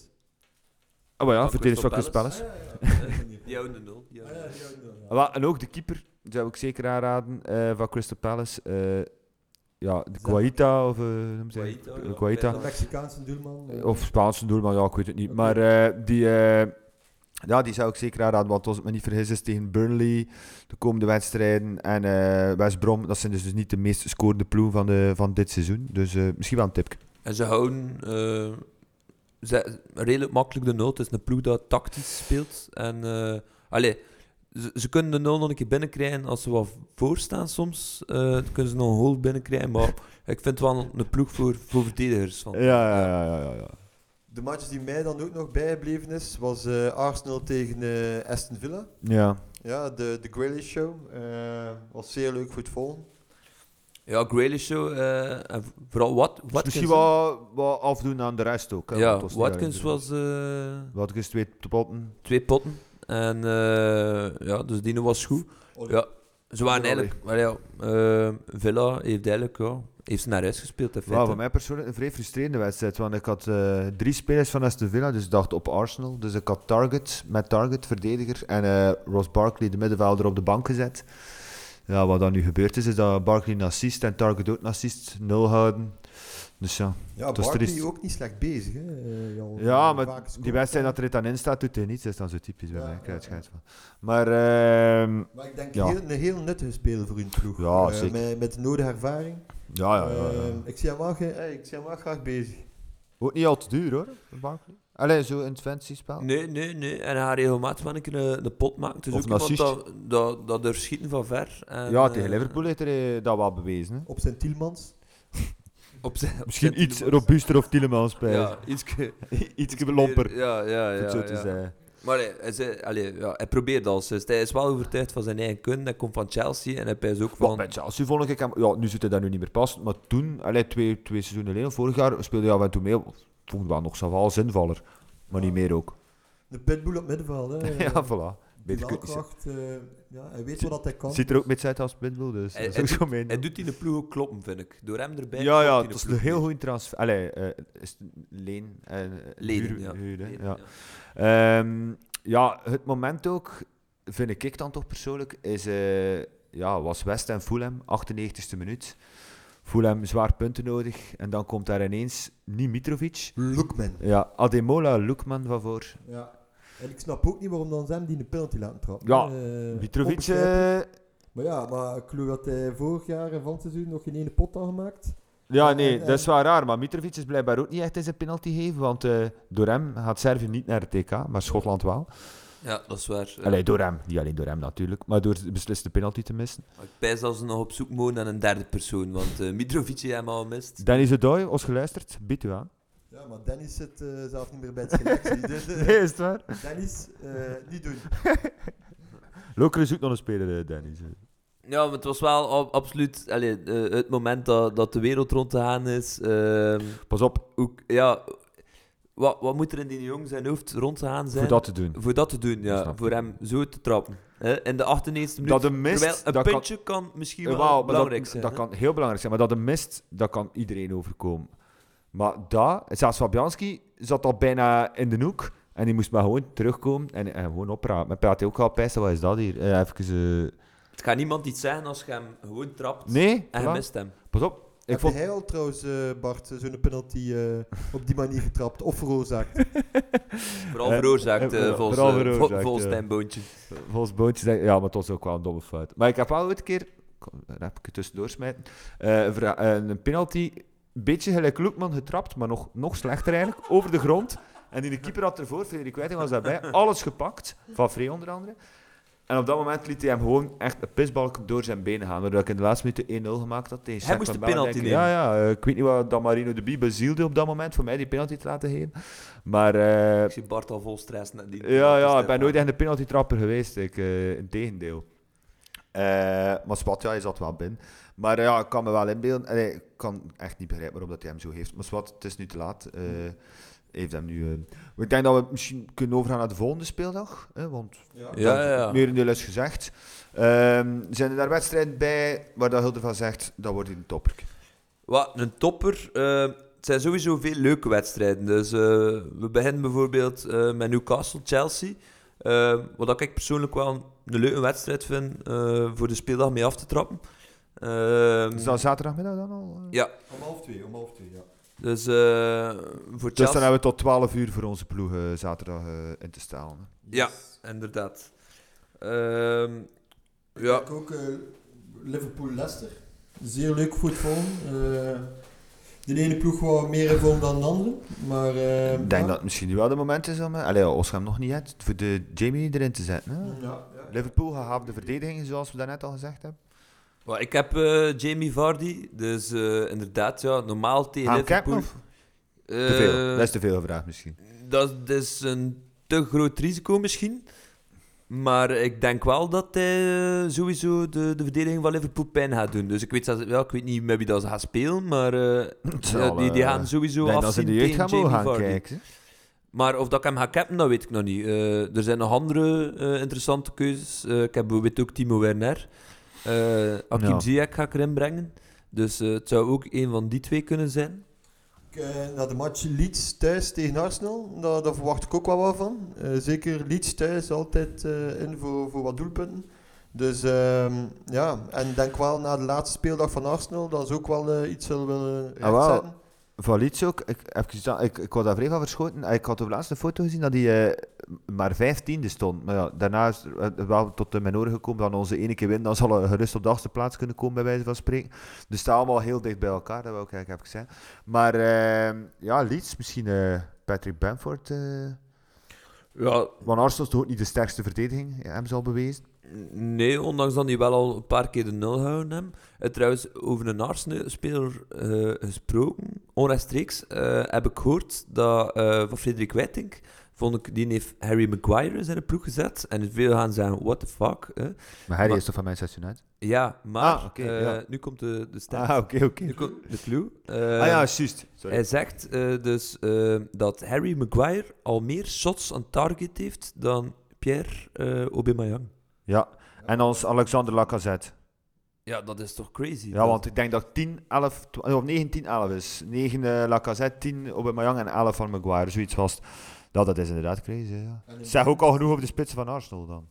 [SPEAKER 1] Oh maar ja,
[SPEAKER 2] Van
[SPEAKER 1] verdedigers van Crystal
[SPEAKER 2] Crystal
[SPEAKER 1] Palace.
[SPEAKER 2] Die houden nul. die houden nul.
[SPEAKER 1] Wel, en ook de keeper, die zou ik zeker aanraden, eh, van Crystal Palace. eh, ja, de Guaita of... eh, noem ze-
[SPEAKER 2] Guaita, ja.
[SPEAKER 1] Guaita.
[SPEAKER 3] Een Mexicaanse doelman. eh,
[SPEAKER 1] Of Spaanse doelman, ja, ik weet het niet.
[SPEAKER 3] Oké.
[SPEAKER 1] Maar eh, die, eh, ja, die zou ik zeker aanraden, want als ik me niet vergis is tegen Burnley de komende wedstrijden en eh West Brom, dat zijn dus, dus niet de meest scorende ploegen van, de, van dit seizoen. Dus eh, misschien wel een tipje.
[SPEAKER 2] En ze houden eh, ze, redelijk makkelijk de nul. Het is een ploeg dat tactisch speelt. En, eh allee, ze, ze kunnen de nul nog een keer binnenkrijgen als ze wat voorstaan soms. Eh, dan kunnen ze nog een hole binnenkrijgen. Maar ik vind het wel een ploeg voor, voor verdedigers. Van.
[SPEAKER 1] Ja, ja, ja, ja. ja, ja.
[SPEAKER 3] De match die mij dan ook nog bijgebleven is, was eh, Arsenal tegen eh, Aston Villa.
[SPEAKER 1] ja.
[SPEAKER 3] Ja, de, de Grealish Show. eh, was zeer leuk voor het volgen.
[SPEAKER 2] Ja, Grealish Show. eh, en vooral wat,
[SPEAKER 1] Dus
[SPEAKER 2] Watkins.
[SPEAKER 1] misschien wat, wat afdoen aan de rest ook. hè,
[SPEAKER 2] ja,
[SPEAKER 1] want het was niet
[SPEAKER 2] Watkins
[SPEAKER 1] alleen-
[SPEAKER 2] was eh,
[SPEAKER 1] Watkins twee te potten.
[SPEAKER 2] twee potten. En eh, ja, dus Dino was goed. Ja, ze waren
[SPEAKER 1] Olé.
[SPEAKER 2] eigenlijk... Maar ja, eh, Villa heeft eigenlijk ja, heeft ze naar huis gespeeld. in
[SPEAKER 1] Ja,
[SPEAKER 2] feite.
[SPEAKER 1] voor mij persoonlijk een vrij frustrerende wedstrijd, want ik had eh, drie spelers van Aston Villa, dus ik dacht op Arsenal. Dus ik had Target met Target, verdediger, en eh, Ross Barkley, de middenvelder, op de bank gezet. Ja, wat dan nu gebeurd is, is dat Barkley een assist en Target ook een assist, nul houden. Dus ja.
[SPEAKER 3] Ja,
[SPEAKER 1] Dus er
[SPEAKER 3] Barkley
[SPEAKER 1] is-
[SPEAKER 3] ook niet slecht bezig. Hè? eh, Jan.
[SPEAKER 1] Ja,
[SPEAKER 3] Eh,
[SPEAKER 1] maar
[SPEAKER 3] vaak gescoord,
[SPEAKER 1] die wedstrijd dat er het aan in staat, doet hij niets. Dat is dan zo typisch bij
[SPEAKER 3] Ja,
[SPEAKER 1] mij. Ik
[SPEAKER 3] ja,
[SPEAKER 1] krijg het
[SPEAKER 3] ja.
[SPEAKER 1] schijt van. Maar ehm,
[SPEAKER 3] Maar ik denk
[SPEAKER 1] Ja.
[SPEAKER 3] heel, een heel nuttige speler voor hun ploeg.
[SPEAKER 1] Ja,
[SPEAKER 3] Eh,
[SPEAKER 1] zeker.
[SPEAKER 3] Met, met de nodige ervaring.
[SPEAKER 1] ja, ja, ja, ja.
[SPEAKER 3] Eh, ik, zie hem wel, ge- eh, ik zie hem wel graag bezig.
[SPEAKER 1] Ook niet al te duur hoor, Barkley. Alleen zo in het fantasyspel.
[SPEAKER 2] Nee, nee, nee. En hij gaat regelmatig wel een keer eh, de pot maken. Dus
[SPEAKER 1] Of
[SPEAKER 2] ook
[SPEAKER 1] een
[SPEAKER 2] iemand dat, dat, dat durft schieten van ver. En,
[SPEAKER 1] ja, tegen
[SPEAKER 2] eh,
[SPEAKER 1] Liverpool heeft hij eh, dat wel bewezen. Hè.
[SPEAKER 3] Op zijn Tielmans.
[SPEAKER 2] Op zijn, op
[SPEAKER 1] Misschien
[SPEAKER 2] zijn
[SPEAKER 1] iets
[SPEAKER 2] tiende
[SPEAKER 1] robuuster of Tielemans
[SPEAKER 2] man.
[SPEAKER 1] bij.
[SPEAKER 2] Ja, iets
[SPEAKER 1] iets lomper,
[SPEAKER 2] Ja, ja,
[SPEAKER 1] om
[SPEAKER 2] ja.
[SPEAKER 1] het zo te
[SPEAKER 2] ja.
[SPEAKER 1] zeggen.
[SPEAKER 2] Maar nee, hij, zei, allee, ja, hij probeert al. Dus hij is wel overtuigd van zijn eigen kunde. Hij komt van Chelsea en hij is ook
[SPEAKER 1] Want
[SPEAKER 2] van...
[SPEAKER 1] bij Chelsea vond ik hem... Ja, nu zit hij daar nu niet meer pas. Maar toen, allee, twee, twee seizoenen geleden, vorig jaar, speelde hij af en toe mee. Vond ik wel nog zo wel zinvaller. Maar niet meer ook.
[SPEAKER 3] De pitbull op middenveld. Hè?
[SPEAKER 1] Ja, voilà. Beter kun je niet
[SPEAKER 3] Duelkracht, eh, ja, hij weet wat hij kan.
[SPEAKER 1] Ziet er ook met uit als Bindel, dus
[SPEAKER 2] Hij-
[SPEAKER 1] dat is ook
[SPEAKER 2] hij
[SPEAKER 1] zo mijn.
[SPEAKER 2] Hij doet die de ploeg ook kloppen, vind ik. Door hem erbij
[SPEAKER 1] ja, ja,
[SPEAKER 2] klopt
[SPEAKER 1] het
[SPEAKER 2] die de
[SPEAKER 1] is
[SPEAKER 2] ploeg
[SPEAKER 1] een heel
[SPEAKER 2] mee.
[SPEAKER 1] goede transfer. Allee, eh, is het leen en
[SPEAKER 2] Leden, ja. Leden,
[SPEAKER 1] ja.
[SPEAKER 2] ja.
[SPEAKER 1] Ehm, ja, het moment ook, vind ik dan toch persoonlijk, is, eh, ja, was West en Fulham, 98e minuut. Fulham zwaar punten nodig en dan komt daar ineens niet Mitrovic.
[SPEAKER 3] Lookman.
[SPEAKER 1] Ja, Ademola Lukman van voor.
[SPEAKER 3] Ja. En ik snap ook niet waarom dan ze hem die een penalty laten trappen.
[SPEAKER 1] Ja,
[SPEAKER 3] Eh,
[SPEAKER 1] Mitrovic,
[SPEAKER 3] onbegrijpelijk.
[SPEAKER 1] eh,
[SPEAKER 3] Maar ja, maar ik geloof dat hij vorig jaar en van het seizoen nog geen ene pot had gemaakt.
[SPEAKER 1] Ja,
[SPEAKER 3] En-
[SPEAKER 1] nee,
[SPEAKER 3] en-
[SPEAKER 1] dat is wel raar. Maar Mitrovic is blijkbaar ook niet echt in zijn penalty geven. Want eh, door hem gaat Servië niet naar het TK, maar Schotland wel.
[SPEAKER 2] Ja, dat is waar. ja.
[SPEAKER 1] Allee, door hem. Niet alleen door hem natuurlijk. Maar door de besliste penalty te missen.
[SPEAKER 2] Maar Ik pijs dat ze nog op zoek moeten naar een derde persoon. Want eh Mitrovic heeft hem al mist.
[SPEAKER 1] Danny Zedoy, ons geluisterd. Biedt u aan.
[SPEAKER 3] Ja, maar Dennis zit eh, zelf niet meer bij het selectie. dus, eh,
[SPEAKER 1] Nee, is het waar?
[SPEAKER 3] Dennis, eh, niet doen.
[SPEAKER 1] Lokeren zoekt nog een speler, eh, Danny.
[SPEAKER 2] Ja, maar het was wel ab- absoluut allee, eh, het moment dat, dat de wereld rond te gaan is. ehm,
[SPEAKER 1] Pas op,
[SPEAKER 2] ook, ja, wat, wat moet er in die jongen zijn hoofd rond te gaan zijn?
[SPEAKER 1] voor dat te doen.
[SPEAKER 2] voor dat te doen, ja.
[SPEAKER 1] Snap ik.
[SPEAKER 2] Voor hem zo te trappen. hè, in de 98e minuut.
[SPEAKER 1] Dat een
[SPEAKER 2] Terwijl
[SPEAKER 1] mist,
[SPEAKER 2] een
[SPEAKER 1] dat kan,
[SPEAKER 2] puntje kan, misschien
[SPEAKER 1] Eh,
[SPEAKER 2] wel
[SPEAKER 1] wauw, maar
[SPEAKER 2] belangrijk
[SPEAKER 1] dat,
[SPEAKER 2] zijn.
[SPEAKER 1] dat
[SPEAKER 2] hè.
[SPEAKER 1] kan heel belangrijk zijn. Maar dat een mist, dat kan iedereen overkomen. Maar dat, zelfs Fabianski zat al bijna in de hoek. En die moest maar gewoon terugkomen en, en gewoon oprapen. Maar praat hij ook al pijsten, wat is dat hier? Eh, even... eh,
[SPEAKER 2] Het gaat niemand iets zeggen als je hem gewoon trapt
[SPEAKER 1] Nee,
[SPEAKER 2] en je
[SPEAKER 1] voilà.
[SPEAKER 2] mist hem.
[SPEAKER 1] pas op. Ik
[SPEAKER 3] Heb
[SPEAKER 1] vond...
[SPEAKER 3] jij al trouwens, eh, Bart, zo'n penalty eh, op die manier getrapt of veroorzaakt?
[SPEAKER 2] Vooral
[SPEAKER 1] Eh,
[SPEAKER 2] veroorzaakt,
[SPEAKER 1] eh,
[SPEAKER 2] eh, volgens,
[SPEAKER 1] vooral
[SPEAKER 2] eh, vo-
[SPEAKER 1] veroorzaakt,
[SPEAKER 2] volgens
[SPEAKER 1] ja.
[SPEAKER 2] mijn boontje.
[SPEAKER 1] Volgens Boontjes denk ik- ja, maar het was ook wel een domme fout. Maar ik heb wel ooit een keer, kom, daar heb ik het tussendoor smijten, eh, een vra- eh, een penalty, een beetje gelijk Loekman getrapt, maar nog, nog slechter eigenlijk, over de grond. En die de keeper had ervoor, Frederik Wijting was daarbij, alles gepakt, van Vree onder andere. En op dat moment liet hij hem gewoon echt een pisbalk door zijn benen gaan, waardoor ik in de laatste minuten 1-0 gemaakt had tegen
[SPEAKER 2] Hij
[SPEAKER 1] Sack
[SPEAKER 2] moest
[SPEAKER 1] van
[SPEAKER 2] de
[SPEAKER 1] Bellen,
[SPEAKER 2] penalty
[SPEAKER 1] denk ik. Ja, ja, eh, ik weet niet wat dat Marino de Bie bezielde op dat moment, voor mij die penalty te laten geven. Maar... eh,
[SPEAKER 2] Ik zie Bart al vol stress naar die.
[SPEAKER 1] ja, ja, ik ben nooit echt een penalty-trapper geweest. Ik, eh integendeel. Eh, maar Swat, ja, hij zat wel binnen. Maar eh, ja, ik kan me wel inbeelden. Allee, ik kan echt niet begrijpen waarom dat hij hem zo heeft. Maar Swat, het is nu te laat. Eh, heeft hem nu... eh, Ik denk dat we misschien kunnen overgaan naar de volgende speeldag. Hè, want
[SPEAKER 2] Ja, ja, ja.
[SPEAKER 1] meer in de is gezegd. Ehm, zijn er daar wedstrijden bij waar dat Hilder van zegt, dat wordt in de topper.
[SPEAKER 2] Wat, een topper. eh, het zijn sowieso veel leuke wedstrijden. Dus eh, we beginnen bijvoorbeeld eh, met Newcastle-Chelsea. Eh, wat ik persoonlijk wel een, een leuke wedstrijd vind eh, voor de speeldag mee af te trappen. Eh,
[SPEAKER 1] Is Dus dat zaterdagmiddag dan al? eh?
[SPEAKER 2] Ja,
[SPEAKER 3] Om half twee, om half twee, ja.
[SPEAKER 2] dus eh, voor
[SPEAKER 1] Dus
[SPEAKER 2] Chelsea...
[SPEAKER 1] dan hebben we tot 12 uur voor onze ploeg eh, zaterdag eh, in te staan. hè.
[SPEAKER 2] Ja. Inderdaad. Ehm, ja,
[SPEAKER 3] Ik ook eh, Liverpool-Leicester. Zeer leuk voetbal. Eh de ene ploeg wou meer in vorm dan de andere. Maar, eh,
[SPEAKER 1] Ik denk
[SPEAKER 3] ja.
[SPEAKER 1] dat het misschien nu wel de moment is om... eh, Allee, ja, Oscham nog niet, hè, t- voor de Jamie erin te zetten. Hè?
[SPEAKER 3] Ja, ja.
[SPEAKER 1] Liverpool gehaald de verdediging, zoals we daarnet al gezegd hebben.
[SPEAKER 2] wel, ik heb eh, Jamie Vardy. Dus eh, inderdaad, ja, normaal tegen
[SPEAKER 1] Aan
[SPEAKER 2] Liverpool...
[SPEAKER 1] Kempen of? Te veel.
[SPEAKER 2] eh,
[SPEAKER 1] Dat is te veel gevraagd misschien.
[SPEAKER 2] Dat, dat is een te groot risico misschien. Maar ik denk wel dat hij eh, sowieso de, de verdediging van Liverpool pijn gaat doen. Dus ik weet, zelfs- ja, ik weet niet met wie dat ze gaat spelen, maar eh, ja, die, die gaan
[SPEAKER 1] Ik
[SPEAKER 2] sowieso
[SPEAKER 1] denk dat ze in de
[SPEAKER 2] afzien
[SPEAKER 1] jeugd
[SPEAKER 2] tegen
[SPEAKER 1] gaan
[SPEAKER 2] Jamie
[SPEAKER 1] mogen gaan
[SPEAKER 2] Vardy.
[SPEAKER 1] kijken.
[SPEAKER 2] Maar of dat ik hem ga cappen, dat weet ik nog niet. Eh, er zijn nog andere eh, interessante keuzes. Eh, ik heb bijvoorbeeld ook Timo Werner. Eh Akim
[SPEAKER 1] Ja.
[SPEAKER 2] Ziyech ga ik erin brengen. Dus eh, het zou ook een van die twee kunnen zijn.
[SPEAKER 3] Ik, eh, na de match Leeds thuis tegen Arsenal, daar, daar verwacht ik ook wel wat van. Eh, zeker Leeds thuis altijd eh, in voor, voor wat doelpunten. Dus ehm, ja, en ik denk wel na de laatste speeldag van Arsenal, dat ze ook wel eh, iets zullen willen
[SPEAKER 1] Ah, wel.
[SPEAKER 3] uitzetten.
[SPEAKER 1] Valits ook. Ik, even, staan- ik, ik had daar vrij van verschoten. Ah, Ik had op de laatste foto gezien dat hij eh, maar vijftiende stond. Maar ja, daarna is er eh, wel tot de menoren gekomen. Dan onze ene keer winnen, dan zal hij gerust op de achtste plaats kunnen komen, bij wijze van spreken. Dus het staat allemaal heel dicht bij elkaar, dat wil ik eigenlijk even zeggen. Maar eh, ja, Leeds, misschien eh, Patrick Bamford. eh
[SPEAKER 2] Ja,
[SPEAKER 1] want Arsenal is toch ook niet de sterkste verdediging, eh, hem zal bewezen.
[SPEAKER 2] Nee, ondanks dat hij wel al een paar keer de nul houden hem. Eh, trouwens, over een Arsenal-speler eh, gesproken, onrechtstreeks, eh, heb ik gehoord dat eh, van Frederik Wetting, vond ik, die heeft Harry Maguire in zijn ploeg gezet. En veel gaan zeggen, what the fuck. hè.
[SPEAKER 1] Maar Harry
[SPEAKER 2] Maar-
[SPEAKER 1] is toch van Manchester United?
[SPEAKER 2] Ja, maar
[SPEAKER 1] Ah, oké,
[SPEAKER 2] eh,
[SPEAKER 1] ja.
[SPEAKER 2] nu komt de, de stem.
[SPEAKER 1] Ah, oké, oké.
[SPEAKER 2] Nu komt de clue. Eh,
[SPEAKER 1] ah ja, juist. Sorry.
[SPEAKER 2] hij zegt eh, dus eh, dat Harry Maguire al meer shots aan target heeft dan Pierre eh Aubameyang.
[SPEAKER 1] Ja, en als Alexander Lacazette.
[SPEAKER 2] Ja, dat is toch crazy.
[SPEAKER 1] Ja, want ik denk dat 10, 11, twa- eh, of 9, 10, 11 is. 9 eh, Lacazette, 10 Aubameyang en 11 van Maguire. Zoiets was. Ja, dat is inderdaad crazy. Ja.
[SPEAKER 3] En in-
[SPEAKER 1] Zeg ook al genoeg over de spitsen van Arsenal dan.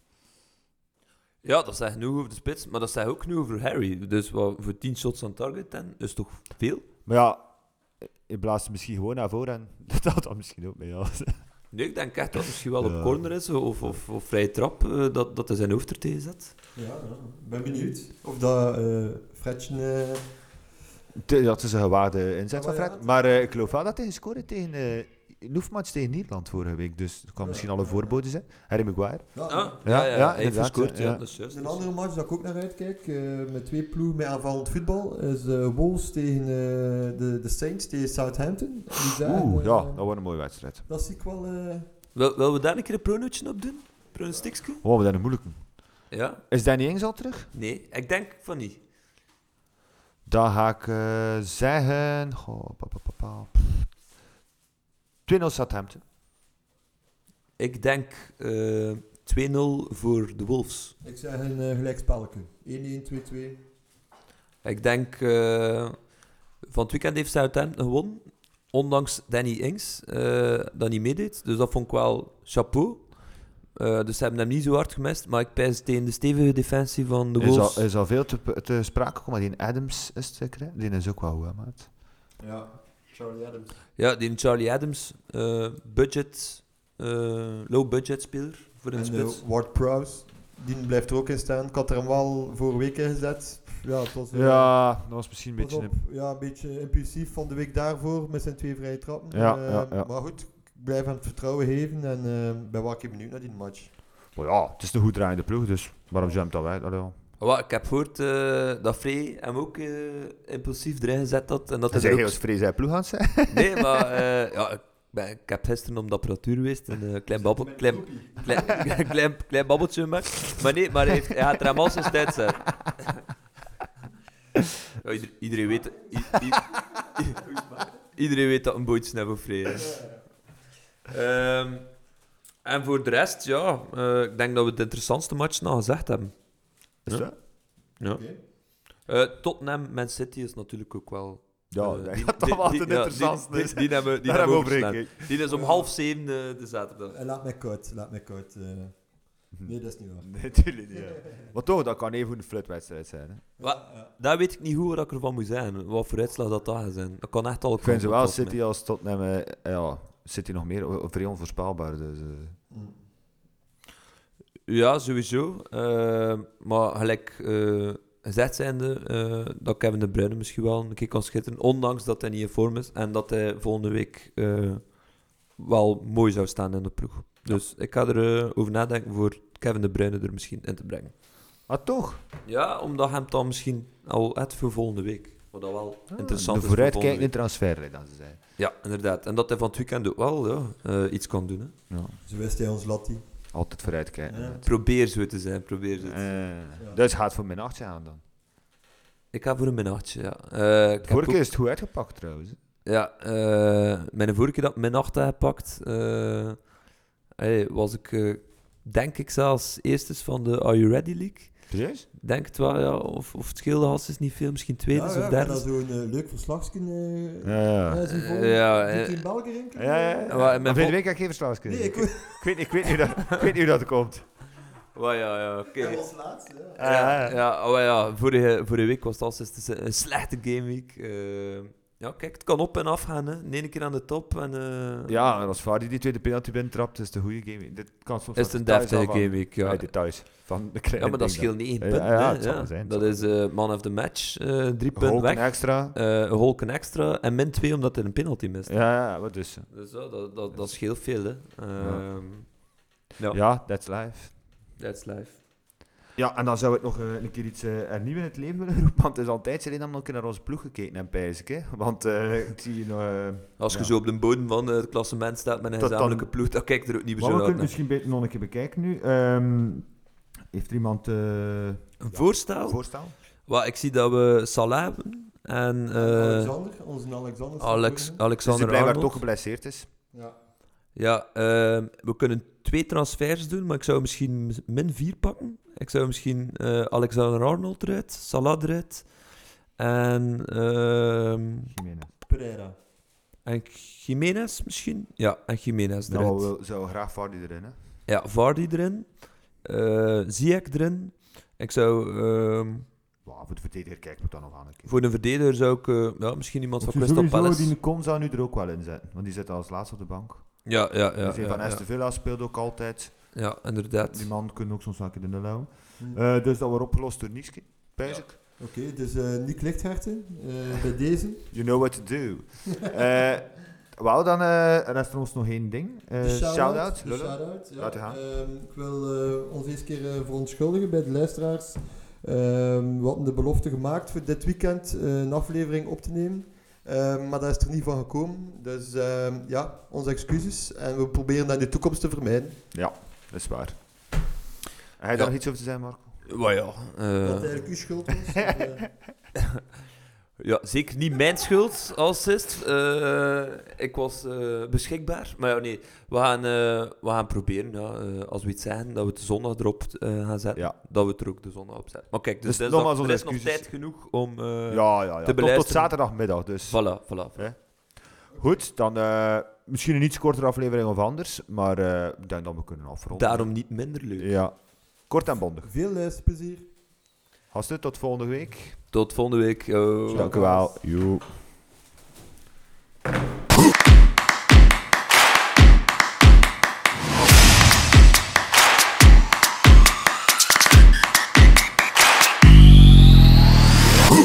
[SPEAKER 2] Ja, dat zegt genoeg over de spits, maar dat zegt ook genoeg over Harry. Dus wat voor 10 shots aan target dan, is toch veel?
[SPEAKER 1] Maar ja, eh, je blaast misschien gewoon naar voren en dat had dan misschien ook mee. Ja.
[SPEAKER 2] Nee, ik denk echt dat het misschien wel
[SPEAKER 1] Ja.
[SPEAKER 2] op corner is of, of, of vrije trap eh, dat, dat hij zijn hoofd er tegen zet.
[SPEAKER 3] Ja, ja, ik ben benieuwd of dat eh Fredje... eh,
[SPEAKER 1] Te- Dat is een gewaarde inzet
[SPEAKER 3] Ja,
[SPEAKER 1] van
[SPEAKER 3] maar ja.
[SPEAKER 1] Fred. Maar eh, ik geloof wel dat hij gescoord heeft tegen eh Noefmats tegen Nederland vorige week. Dus dat kan
[SPEAKER 3] Ja,
[SPEAKER 1] misschien al
[SPEAKER 3] ja,
[SPEAKER 1] een
[SPEAKER 3] ja.
[SPEAKER 1] voorbode zijn. Harry Maguire.
[SPEAKER 3] ja,
[SPEAKER 2] Ah.
[SPEAKER 1] Ja, ja,
[SPEAKER 2] hij heeft
[SPEAKER 1] inderdaad,
[SPEAKER 2] gescoord, ja,
[SPEAKER 1] ja.
[SPEAKER 2] dat is juist.
[SPEAKER 3] Een Ah. andere match dat ik ook naar uitkijk, eh, met twee ploegen met aanvallend voetbal, is eh, Wolves tegen eh, de, de Saints, tegen Southampton. Die zagen,
[SPEAKER 1] Oeh,
[SPEAKER 3] eh,
[SPEAKER 1] ja, dat wordt een mooie wedstrijd.
[SPEAKER 3] dat zie ik wel... eh,
[SPEAKER 2] Wil, willen we daar een keer een pronootje op doen? Pronostiekje?
[SPEAKER 1] Oh, wat een moeilijke.
[SPEAKER 2] Ja?
[SPEAKER 1] Is Danny Ings al terug?
[SPEAKER 2] Nee, ik denk van niet.
[SPEAKER 1] Dan ga ik eh, zeggen... Goh, pa, pa, pa, pa. 2-0 Southampton.
[SPEAKER 2] Ik denk eh, 2-0 voor de Wolves.
[SPEAKER 3] Ik zeg een eh, gelijkspelletje. 1-1, 2-2.
[SPEAKER 2] Ik denk, eh, van het weekend heeft Southampton gewonnen. Ondanks Danny Ings, eh, dat niet meedeed. Dus dat vond ik wel chapeau. Eh, dus ze hebben hem niet zo hard gemist. Maar ik pijs tegen de stevige defensie van de
[SPEAKER 1] Er
[SPEAKER 2] Wolves.
[SPEAKER 1] is, al, is al veel te, te sprake gekomen, maar die Adams is zeker, hè? Die is ook wel goed, hè, maat?
[SPEAKER 3] Ja, Charlie Adams.
[SPEAKER 2] Ja, die Charlie Adams. eh, budget, eh, low budget speler voor in de
[SPEAKER 3] En eh,
[SPEAKER 2] spits.
[SPEAKER 3] Ward Prowse, die blijft er ook in staan. Ik had er hem wel vorige week in gezet. Ja, het was, eh,
[SPEAKER 1] Ja, dat was misschien een
[SPEAKER 3] was
[SPEAKER 1] beetje...
[SPEAKER 3] op, ja, een beetje impulsief van de week daarvoor, met zijn twee vrije trappen.
[SPEAKER 1] Ja,
[SPEAKER 3] Eh,
[SPEAKER 1] ja, ja.
[SPEAKER 3] Maar goed, ik blijf hem het vertrouwen geven en eh ben wel een keer benieuwd naar die match.
[SPEAKER 1] Maar ja, het is een goed draaiende ploeg, dus waarom zou je hem dan uit? Allee, ja.
[SPEAKER 2] Wat, ik heb gehoord eh, dat Frey hem ook eh, impulsief erin gezet had. En dat
[SPEAKER 1] Hij
[SPEAKER 2] hij
[SPEAKER 1] zei
[SPEAKER 2] er
[SPEAKER 1] heel
[SPEAKER 2] ook
[SPEAKER 1] vrees hij ploeg aan het zijn.
[SPEAKER 2] Nee, maar eh, ja, ik, ben, ik heb gisteren om de apparatuur geweest en een klein, babbel, klein, klein, klein, klein babbeltje gemaakt. Maar nee, maar hij, heeft, hij gaat er hem al zijn tijd zijn. Ja, ieder- iedereen, weet, i- i- i- iedereen weet dat een bootje snel voor vrij is. Ehm, en voor de rest, ja, eh, ik denk dat we het interessantste match nog gezegd hebben.
[SPEAKER 1] Is
[SPEAKER 2] Ja.
[SPEAKER 1] dat?
[SPEAKER 2] Ja.
[SPEAKER 3] Oké.
[SPEAKER 2] Eh, Tottenham, Man City is natuurlijk ook wel...
[SPEAKER 1] Ja,
[SPEAKER 2] eh,
[SPEAKER 1] dat
[SPEAKER 2] die-
[SPEAKER 1] gaat
[SPEAKER 2] die-
[SPEAKER 1] toch wel
[SPEAKER 2] die-
[SPEAKER 1] het
[SPEAKER 2] ja, die-
[SPEAKER 1] interessantste.
[SPEAKER 2] die-
[SPEAKER 1] is.
[SPEAKER 2] Die hebben die
[SPEAKER 1] Daar hebben
[SPEAKER 2] hebben
[SPEAKER 1] we
[SPEAKER 2] overgestaan.
[SPEAKER 1] over ik.
[SPEAKER 2] Die is om half zeven eh, de zaterdag.
[SPEAKER 3] Eh, Laat mij koud, laat mij koud. eh.
[SPEAKER 1] Mhm.
[SPEAKER 3] Nee, dat is niet waar.
[SPEAKER 1] Natuurlijk niet. ja. Maar toch, dat kan even een flutwedstrijd zijn. Hè.
[SPEAKER 2] Wat? Daar weet ik niet hoe wat ik ervan moet zijn. Wat voor uitslag dat dat gaat zijn. Dat kan echt al
[SPEAKER 1] Ik vind zowel
[SPEAKER 2] kanten op,
[SPEAKER 1] City als Tottenham, eh, ja, City nog meer, o- vrij onvoorspelbaar. Dus, eh.
[SPEAKER 3] Mm.
[SPEAKER 2] hè. Ja, sowieso. Eh, maar gelijk eh gezegd zijnde, eh, dat Kevin De Bruyne misschien wel een keer kan schitteren. Ondanks dat hij niet in vorm is. En dat hij volgende week eh, wel mooi zou staan in de ploeg. Dus ik ga erover over nadenken voor Kevin De Bruyne er misschien in te brengen.
[SPEAKER 1] Ah, toch?
[SPEAKER 2] Ja, omdat hem dan misschien al het voor volgende week. Wat dat wel interessant
[SPEAKER 1] Ah. de
[SPEAKER 2] is voor volgende week.
[SPEAKER 1] vooruitkijkende transfer, dat ze zijn.
[SPEAKER 2] Ja, inderdaad. En dat hij van het weekend ook wel ja, eh, iets kan doen. Hè.
[SPEAKER 1] Ja.
[SPEAKER 3] Zo wist hij ons Latti.
[SPEAKER 1] Altijd vooruitkijken.
[SPEAKER 3] Ja.
[SPEAKER 1] inderdaad.
[SPEAKER 2] Probeer zo te zijn, probeer zo. te-
[SPEAKER 1] Eh,
[SPEAKER 3] Ja.
[SPEAKER 1] Dus gaat voor mijn achtje aan dan.
[SPEAKER 2] Ik ga voor een minachtje, ja. Eh, ik heb
[SPEAKER 1] Vorige
[SPEAKER 2] ook-
[SPEAKER 1] keer is het goed uitgepakt trouwens. hè.
[SPEAKER 2] Ja, eh, mijn vorige keer dat ik mijn achter heb gepakt, eh, hey, was ik, eh, denk ik zelfs, eerstes van de Are You Ready League.
[SPEAKER 1] Precies?
[SPEAKER 2] Denk het wel, ja. Of, of het scheelde als is niet veel, misschien tweede
[SPEAKER 3] ja,
[SPEAKER 2] of
[SPEAKER 3] ja,
[SPEAKER 2] derde.
[SPEAKER 3] dat zo'n eh, leuk verslagje eh
[SPEAKER 1] Ja, ja.
[SPEAKER 3] eh, zien
[SPEAKER 2] Eh,
[SPEAKER 3] volgen.
[SPEAKER 2] ja,
[SPEAKER 3] Doet
[SPEAKER 2] eh,
[SPEAKER 3] die in België enkele?
[SPEAKER 1] Ja, ja, ja.
[SPEAKER 2] Maar mijn
[SPEAKER 1] Maar
[SPEAKER 2] vol-
[SPEAKER 1] vorige week heb ik geen verslag
[SPEAKER 3] Nee,
[SPEAKER 1] kunnen.
[SPEAKER 3] ik
[SPEAKER 1] ik, ik weet, ik, weet niet hoe dat, ik weet niet hoe dat komt. Eh,
[SPEAKER 2] Ja, ja, ja, oké.
[SPEAKER 3] Hij was laatst, ja.
[SPEAKER 2] Ja,
[SPEAKER 1] Ja,
[SPEAKER 2] ja, oh ja vorige, vorige week was het als is een slechte gameweek. Eh, ja, kijk, het kan op en af gaan. Hè. De ene keer aan de top en... eh,
[SPEAKER 1] Ja, en als Vardy die tweede penalty binnentrapt, is het een goede game. Dit kan soms
[SPEAKER 2] Is het een deftige gameweek, ja.
[SPEAKER 1] Uit de thuis. Van de
[SPEAKER 2] Ja, maar dat scheelt niet één
[SPEAKER 1] Ja,
[SPEAKER 2] punt.
[SPEAKER 1] ja,
[SPEAKER 2] hè.
[SPEAKER 1] het zal wel zijn, het
[SPEAKER 2] Dat
[SPEAKER 1] zal
[SPEAKER 2] is eh, man of the match, eh, drie punten
[SPEAKER 1] Holken
[SPEAKER 2] weg.
[SPEAKER 1] extra.
[SPEAKER 2] eh een holken extra en min 2 omdat er een penalty mist.
[SPEAKER 1] Ja, ja, wat dus.
[SPEAKER 2] Dus ja, dat, dat, dat scheelt veel, hè. Ehm, ja.
[SPEAKER 1] Ja, that's life.
[SPEAKER 2] that's life.
[SPEAKER 1] Ja, en dan zou ik nog eh, een keer iets eh hernieuw in het leven willen roepen. Want het is al een tijdje geleden dat we nog een keer naar onze ploeg gekeken hebben, pijs ik. Hè? Want eh, ik zie hier nog... eh,
[SPEAKER 2] Als je
[SPEAKER 1] Ja.
[SPEAKER 2] zo op de bodem van eh, het klassement staat met een
[SPEAKER 1] Tot dan-
[SPEAKER 2] gezamenlijke ploeg, dan kijk je er ook niet meer
[SPEAKER 1] Maar
[SPEAKER 2] zo
[SPEAKER 1] we
[SPEAKER 2] uit.
[SPEAKER 1] kunnen het
[SPEAKER 2] hè.
[SPEAKER 1] misschien beter nog een keer bekijken nu. Ehm, heeft er iemand eh,
[SPEAKER 2] Een voorstel?
[SPEAKER 1] voorstel?
[SPEAKER 2] Wel, ik zie dat we Salah hebben en eh
[SPEAKER 3] Alexander, onze Alexander. staat
[SPEAKER 2] Alex,
[SPEAKER 3] ook in.
[SPEAKER 1] Dus die
[SPEAKER 2] Alexander
[SPEAKER 1] blijkbaar
[SPEAKER 2] Arnold.
[SPEAKER 1] toch geblesseerd is.
[SPEAKER 2] dus.
[SPEAKER 3] Ja.
[SPEAKER 2] Ja, ehm, we kunnen twee transfers doen, maar ik zou misschien min 4 pakken. Ik zou misschien eh, Alexander Arnold eruit, Salah eruit en... ehm,
[SPEAKER 1] Jiménez.
[SPEAKER 3] Pereira.
[SPEAKER 2] En Jiménez misschien? Ja, en Jiménez erin.
[SPEAKER 1] Nou, we zouden graag Vardy erin, hè.
[SPEAKER 2] Ja, Vardy erin. eh Ziyech erin. Ik zou... ehm,
[SPEAKER 1] Wauw, voor de verdediger kijken we dan nog aan een keer.
[SPEAKER 2] voor een verdediger zou ik... eh, ja, misschien iemand van
[SPEAKER 1] Moet je
[SPEAKER 2] Crystal
[SPEAKER 1] sowieso
[SPEAKER 2] Palace.
[SPEAKER 1] die Konza nu er ook wel in zetten. Want die zit als laatste op de bank.
[SPEAKER 2] Ja, ja, ja.
[SPEAKER 1] Dus die
[SPEAKER 2] ja,
[SPEAKER 1] van
[SPEAKER 2] ja,
[SPEAKER 1] Aston Villa speelt ook altijd.
[SPEAKER 2] Ja, inderdaad.
[SPEAKER 1] Die man kunnen ook soms wel een keer in de lauw.
[SPEAKER 3] Hm.
[SPEAKER 1] Eh, dus dat wordt opgelost door Nietzsche. Pijs ik.
[SPEAKER 3] Oké, dus eh Nick Lichtherten, eh, bij deze.
[SPEAKER 1] You know what to do. Eh Wauw, dan eh rest er ons nog één ding. Eh,
[SPEAKER 3] De shout-out.
[SPEAKER 1] Shout-out.
[SPEAKER 3] de
[SPEAKER 1] Lullen.
[SPEAKER 3] shout-out, ja.
[SPEAKER 1] Laat het gaan.
[SPEAKER 3] Ehm, ik wil eh, ons eens keer eh, verontschuldigen bij de luisteraars. Ehm, we hadden de belofte gemaakt voor dit weekend eh, een aflevering op te nemen. Ehm, maar dat is er niet van gekomen. Dus ehm, ja, onze excuses. En we proberen dat in de toekomst te vermijden.
[SPEAKER 1] Dat is waar. Heb je daar
[SPEAKER 2] Ja.
[SPEAKER 1] nog iets over te zeggen, Marco?
[SPEAKER 2] Wel ja. eh,
[SPEAKER 3] Dat het eigenlijk uw schuld was. of, eh,
[SPEAKER 2] ja, zeker niet mijn schuld als assist. ik was eh, beschikbaar. Maar ja, nee. We gaan, eh, we gaan proberen, ja, eh, als we iets zeggen, dat we het de zondag erop eh, gaan zetten.
[SPEAKER 1] Ja.
[SPEAKER 2] Dat we het er ook de zondag op zetten. Maar kijk, dus,
[SPEAKER 1] Dus
[SPEAKER 2] dinsdag-
[SPEAKER 1] nogmaals
[SPEAKER 2] er
[SPEAKER 1] onze
[SPEAKER 2] is nog
[SPEAKER 1] excuses.
[SPEAKER 2] tijd genoeg om... eh,
[SPEAKER 1] ja, ja, ja. Tot, tot
[SPEAKER 2] beluisteren.
[SPEAKER 1] zaterdagmiddag dus.
[SPEAKER 2] Voilà, voilà.
[SPEAKER 1] Goed, dan eh, misschien een iets kortere aflevering of anders. Maar eh, ik denk dat we kunnen afronden.
[SPEAKER 2] Daarom niet minder leuk.
[SPEAKER 1] Ja. Kort en bondig.
[SPEAKER 3] veel luisterplezier.
[SPEAKER 1] Gasten, tot volgende week.
[SPEAKER 2] Tot volgende week. Yo.
[SPEAKER 1] Dank u wel. Joe.